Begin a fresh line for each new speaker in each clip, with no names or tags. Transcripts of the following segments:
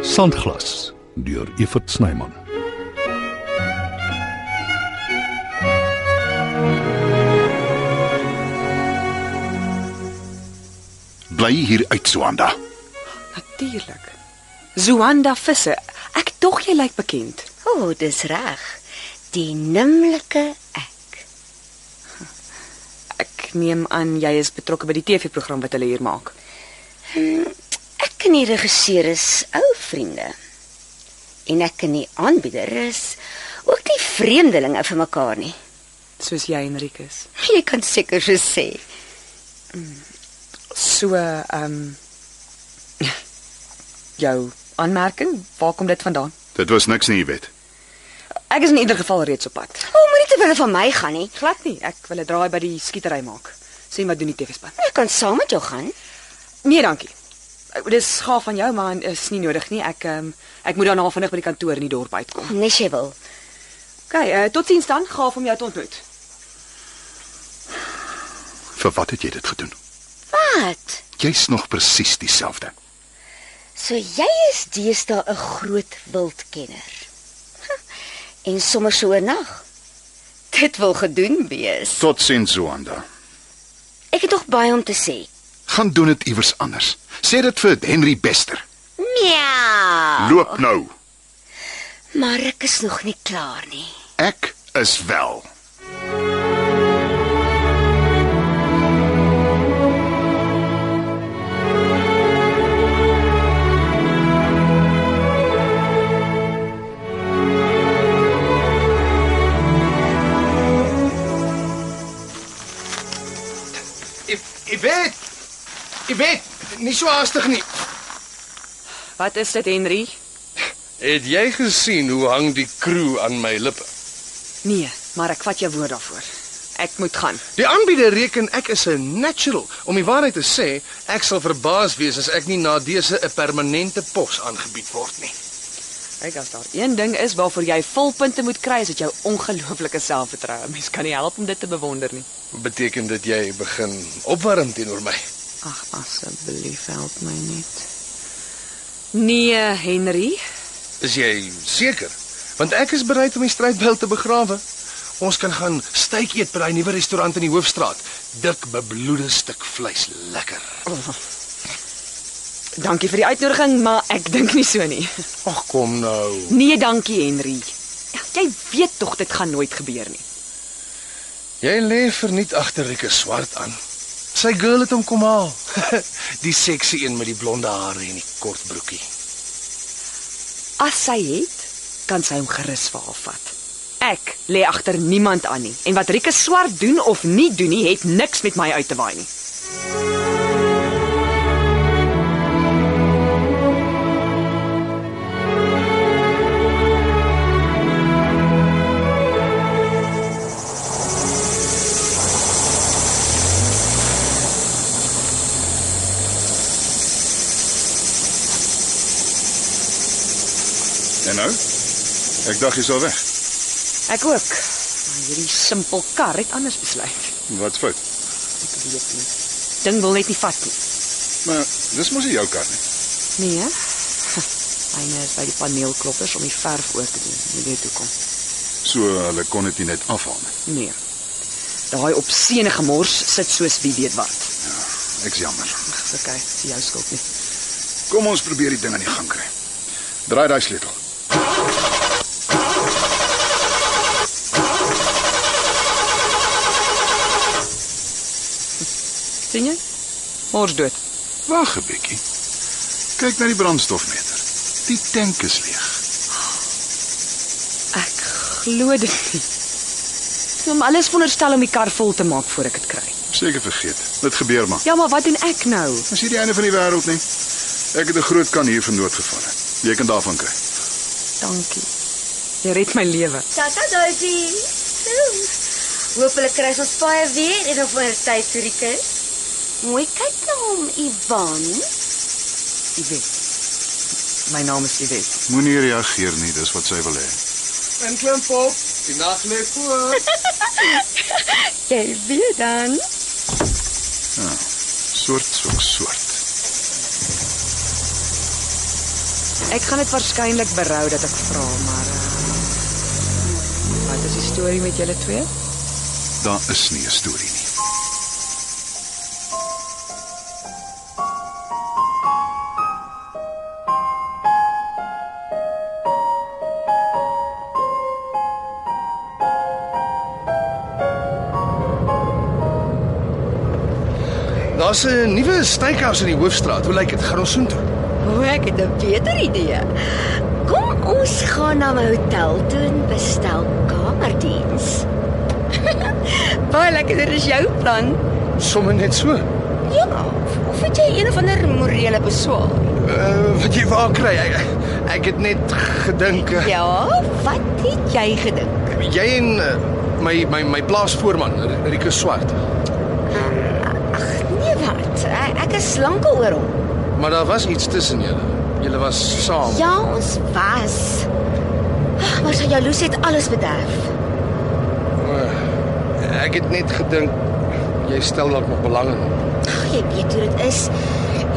Sandglas deur Evert Snyman.
Bly hier uit, Swanda.
Natuurlik. Zuanda Visser. Ek dog jy lyk bekend.
O, oh, dis reg. Die nimmerlike ek.
Ek neem aan jy is betrokke by die TV-program wat hulle hier maak.
Hmm, ek ken die regisseur is ou vriende. En ek ken die aanbieder is ook nie vreemdelinge vir mekaar nie.
Soos jy Enrikus.
Jy kan seker so sê.
So ehm jou aanmerking, waar kom dit vandaan?
Dit was niks nie, jy weet.
Ek is in ieder geval reeds op pad.
O, oh, moenie te wille van my gaan nie.
Glad nie. Ek wil 'n draai by die skietery maak. Sien wat doen die TV-span.
Ek kan saam met jou gaan.
Nee, dankie. Ek- Dis gaaf van jou, maar is nie nodig nie. Ek ehm ek moet daarna vinnig by die kantoor in die dorp uitkom.
Nes jy wil.
OK, uh, totsiens dan. Gaaf om jou te ontmoet.
Vir wat het jy dit gedoen?
Wat?
Jy's nog presies dieselfde.
So jy is deesdae 'n groot wildkenner. Ha, En sommer so oornag. Dit wil gedoen wees.
Totsiens, Swanda.
Ek het tog baie om te sê.
Gaan doen dit iewers anders. Sê dit vir Henry Bester.
Miau.
Loop nou.
Maar ek is nog nie klaar nie.
Ek is wel.
Ek ek weet. Ek weet, nie so haastig nie.
Wat is dit, Henry?
Het jy gesien hoe hang die kroe aan my lippe?
Nee, maar ek vat jou woord daarvoor. Ek moet gaan.
Die aanbieder reken ek is 'n natural. Om die waarheid te sê, ek sal verbaas wees as ek nie na dese 'n permanente pos aangebied word nie.
Kyk, as daar een ding is waarvoor jy volpunte moet kry, is dit jou ongelooflike selfvertroue. Mens kan nie help om dit te bewonder nie.
Beteken dit jy begin opwarm teenoor my?
Ag, asseblief help my net. Nee, Henry.
Is jy seker? Want ek is bereid om die strydbyl te begrawe. Ons kan gaan steak eet by daai nuwe restaurant in die hoofstraat. Dik bebloede stuk vleis, lekker.
Dankie vir die uitnodiging, maar ek dink nie so nie.
Ag kom nou.
Nee, dankie Henry. Ja, Jy weet tog dit gaan nooit gebeur nie.
Jy lê verniet agter Rieke Swart aan. Sy girl het hom kom haal. die seksie een met die blonde hare en die kort broekie.
As sy het, kan sy hom gerus vir haar vat. Ek lê agter niemand aan nie en wat Rieke swart doen of nie doen nie, het niks met my uit te waai nie.
En nou? Ek dink jy's al weg.
Ek ook. Maar hierdie simpel kar het anders besluit.
Wat fout?
Ek weet nie. Ding wil net nie vat nie.
Maar dis mos nie jou kar nie.
Nee. hè? Myne is by die paneelkloppers om die verf oor te doen. Jy weet hoe kom.
So hulle kon dit nie net afhaal nie.
Nee. Daai opseene gemors sit soos wie weet wat.
Ek's jammer.
Okay, dis jou skuld nie.
Kom ons probeer die ding aan die gang kry. Draai daai sleutel.
sien jy? Mors dood.
Wag 'n bietjie. Kyk na die brandstofmeter. Die tank is leeg.
Ek glo dit nie. Om alles veronderstel om die kar vol te maak voor ek dit kry.
Seker vergeet. Dit gebeur maar.
Ja, maar wat doen ek nou?
Dis hier die einde van die wêreld nie. Ek het 'n groot kan hier van dood gevalle. Jy kan daarvan kry.
Dankie. Jy red my lewe.
Tata Daisy. Hoopelik kry ons baie weer en op 'n tyd vir die kind. Mooi kyk na hom, Ivan.
Iwet. My naam is Iwet.
Moenie reageer nie, dis wat sy wil hê.
En klim op. Die nag lê voor.
Jy weet dan.
Soort soek soort.
Ek gaan dit waarskynlik berou dat ek vra, maar eh, Wat is die storie met julle twee?
Daar is nie 'n storie nie.
Daar's 'n nuwe steakhouse in die hoofstraat. Hoe lyk dit? Gaan ons soontoe?
O, ek het 'n beter idee. Kom ons gaan na my hotel toe en bestel kamerdiens. Baie lekkerder is jou plan.
Sommige net so.
Ja, of het jy een of ander morele beswaar?
Uh, wat jy wou kry. Ek, ek het net gedink eh,
Ja, wat het jy gedink?
jy en eh, my my my plaasvoorman R- Rico Swart.
Ag, nee wat. Ek, ek is lankal oor hom.
Maar daar was iets tussen julle. Julle was saam.
Ja, ons was. Ag, maar sy jaloesie het alles bederf.
Eh, Ek het net gedink jy stel dalk nog belang in hom.
Ag, jy weet hoe dit is.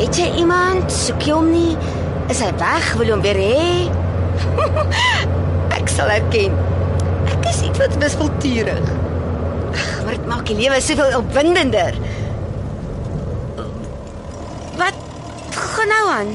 Het jy iemand? Soek jy hom nie? Is hy weg? Wil jy hom weer hê? ek sal erken. Ek is iets wat wispelturig. Ag, maar dit maak die lewe soveel opwindender. Wat gaan nou aan?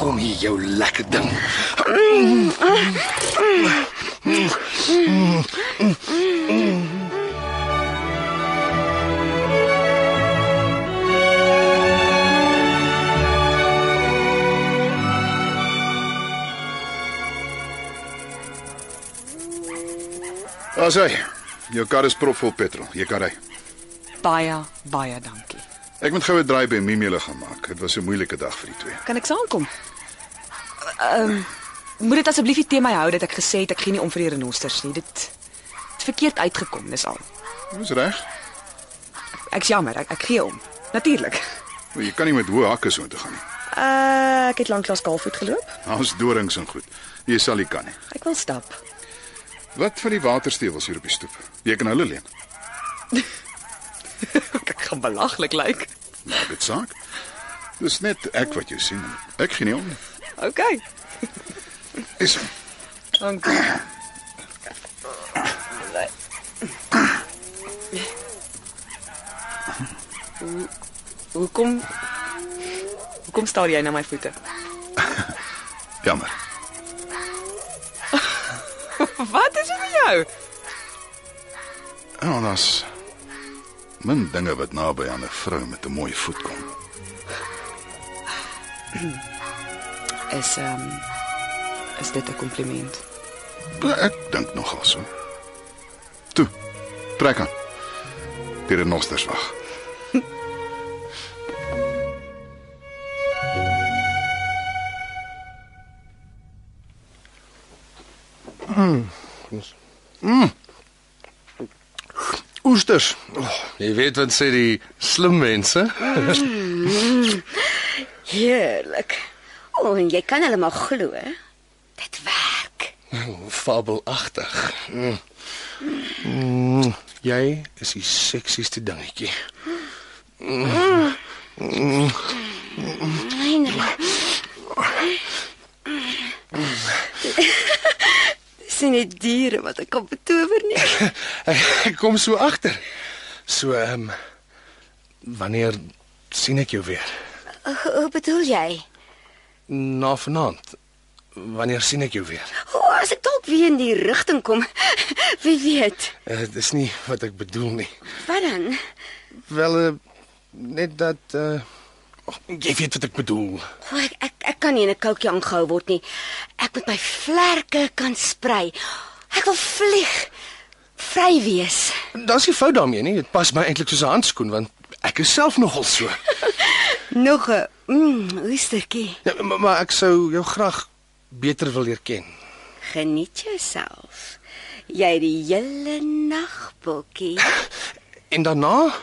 Kom hier jou lekker ding.
Daar sê, jou kar is propvol petrol. Jy kan ry.
Baie, baie dankie.
Ek moet gou 'n draai by Mimiele gaan maak. Dit was 'n moeilike dag vir die twee.
Kan ek saamkom? Ehm moet dit asseblief nie teen my hou dat ek gesê het ek gee nie om vir die renosters nie. Dit het verkeerd uitgekom, dis al.
Dis reg.
Ek's jammer, ek, ek gee om. Natuurlik.
Maar jy kan nie met hoë hakke so toe gaan nie.
Uh ek het lanklaas kaalvoet geloop.
Daar's dorings en goed. Jy sal nie kan nie.
Ek wil stap.
Wat van die waterstewels hier op die stoep? Jy kan hulle leen.
ek gaan belaglik lyk. Like.
Maak dit saak. Dis net ek wat jou sien. Ek gee nie om nie.
OK.
Ja,
Is
Dankie. Hoe- Hoekom Hoekom staar jy na my voete?
jammer.
Wat is dit met jou?
En ons Ja, min dinge wat naby aan 'n vrou met 'n mooi voet kom.
Is ehm um, is dit 'n kompliment?
Eh,
Ek dink nogal so. Toe. Trek aan. Die renosters wag.
Oesters. Oh, jy weet wat sê die slim mense?
Heerlik. O, oh, en jy kan hulle maar glo. hè? Dit werk.
Oh, Fabelagtig. Mm. Mm, Jy is die seksieste dingetjie.
Myne. Sien die diere wat ek kan betower nie.
Ek ek kom so agter. So ehm um, wanneer sien ek jou weer?
Eh, Hoe bedoel jy?
Na vanaand. Wanneer sien ek jou weer?
O, oh, as ek dalk weer in die rigting kom. Wie weet.
Uh, dis nie wat ek bedoel nie.
Wat dan?
Wel uh, net dat uh, oh, jy weet wat ek bedoel.
O, oh, ek, ek ek kan nie in 'n koutjie aangehou word nie. Ek moet my vlerke kan sprei. Ek wil vlieg. Vry wees.
Daar's nie fout daarmee nie. Dit pas my eintlik soos 'n handskoen want ek is self nogal so.
Nog 'n mm, oestertjie.
Ja, maar, maar ek sou jou graag beter wil leer ken.
Geniet jouself. Jy het die hele nag, Bokkie.
En daarna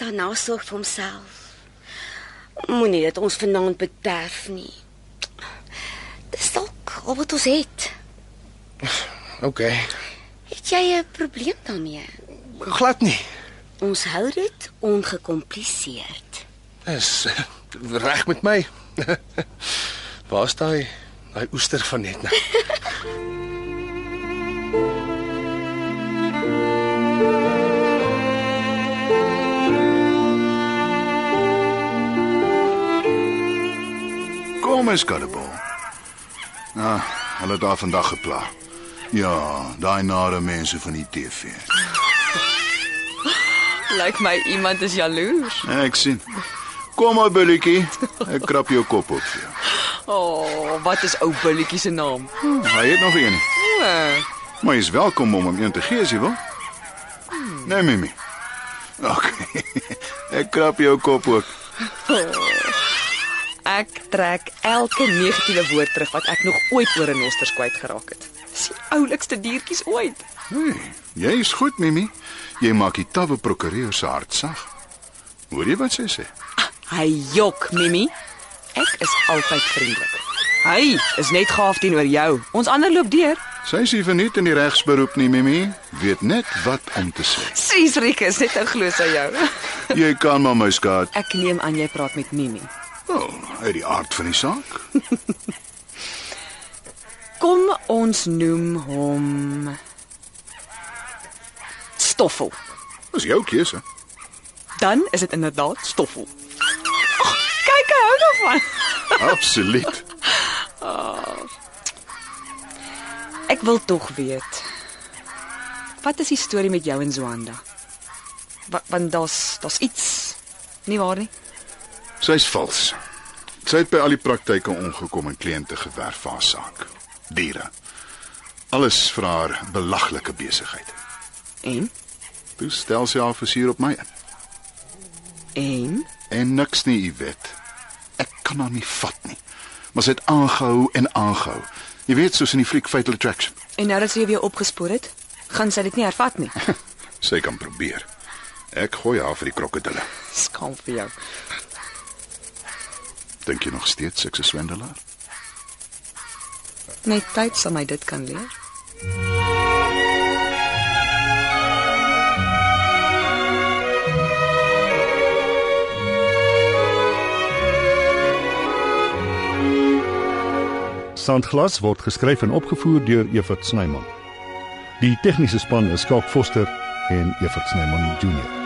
Daarna sorg vir homself. Moenie dit ons vanaand bederf nie. Dis dalk al wat ons het.
Okay.
Het jy 'n probleem daarmee?
Glad nie.
Ons hou dit ongekompliseerd.
Dis eh, reg met my. Waar's daai daai oester van net nou?
Kom eens, Karrebol. Nou, hulle het daar vandag gepla. Ja, daai nare mense van die TV.
Lyk my iemand is jaloers.
Ek sien. Kom maar, Bulletjie. Ek krap jou kop op vir jou.
O, oh, wat is ou Billetjie se naam?
Hy het nog een.
Hmm.
Maar jy is welkom om hom een te gee as jy wil. Nee, Mimi. OK. Ek krap jou kop ook.
Ek trek elke negatiewe woord terug wat ek nog ooit oor 'n nosters kwyt geraak het. Dis die oulikste diertjies ooit.
Hey, jy is goed, Mimi. Jy maak die tawe prokureur se hart sag. Hoor jy wat sy sê?
Hy jok, Mimi. Ek is altyd vriendelik. Hy is net gaaf teenoor jou. Ons ander loop deur.
Sy is hier verniet in die regsberoep nie, Mimi. Weet net wat om te sê.
Sies Rieke is net ou glo sy jou.
Jy kan maar my skaat.
Ek neem aan jy praat met Mimi.
Wel, uit die aard van die saak.
Kom ons noem hom Stoffel.
Dis jou keuse.
Dan is dit inderdaad Stoffel. Ag, kyk hy hou daarvan.
Absoluut.
Ek wil tog weet. Wat is die storie met jou en Zwanda? Wa want daar's daar's iets. Nie waar nie?
Sy's vals. Sy het by al die praktyke ongekom en kliënte gewerf vir haar saak. Diere. Alles vir haar belaglike besigheid.
En
Toe stel sy haar versier op my in.
en
En niks nie, jy weet. Ek kan haar nie vat nie. Maar sy het aangehou en aangehou. Jy weet soos in die fliek Fatal Attraction.
en nou dat sy jou weer opgespoor het, gaan sy dit nie hervat nie.
Sy kan probeer. Ek gooi haar vir die krokodille.
Skaam vir jou.
Dink jy nog steeds ek is 'n swendelaar?
Net tyd sal my dit kan leer.
Sandglas word geskryf en opgevoer deur Evert Snyman. Die tegniese span is Skalk Foster en Evert Snyman Junior.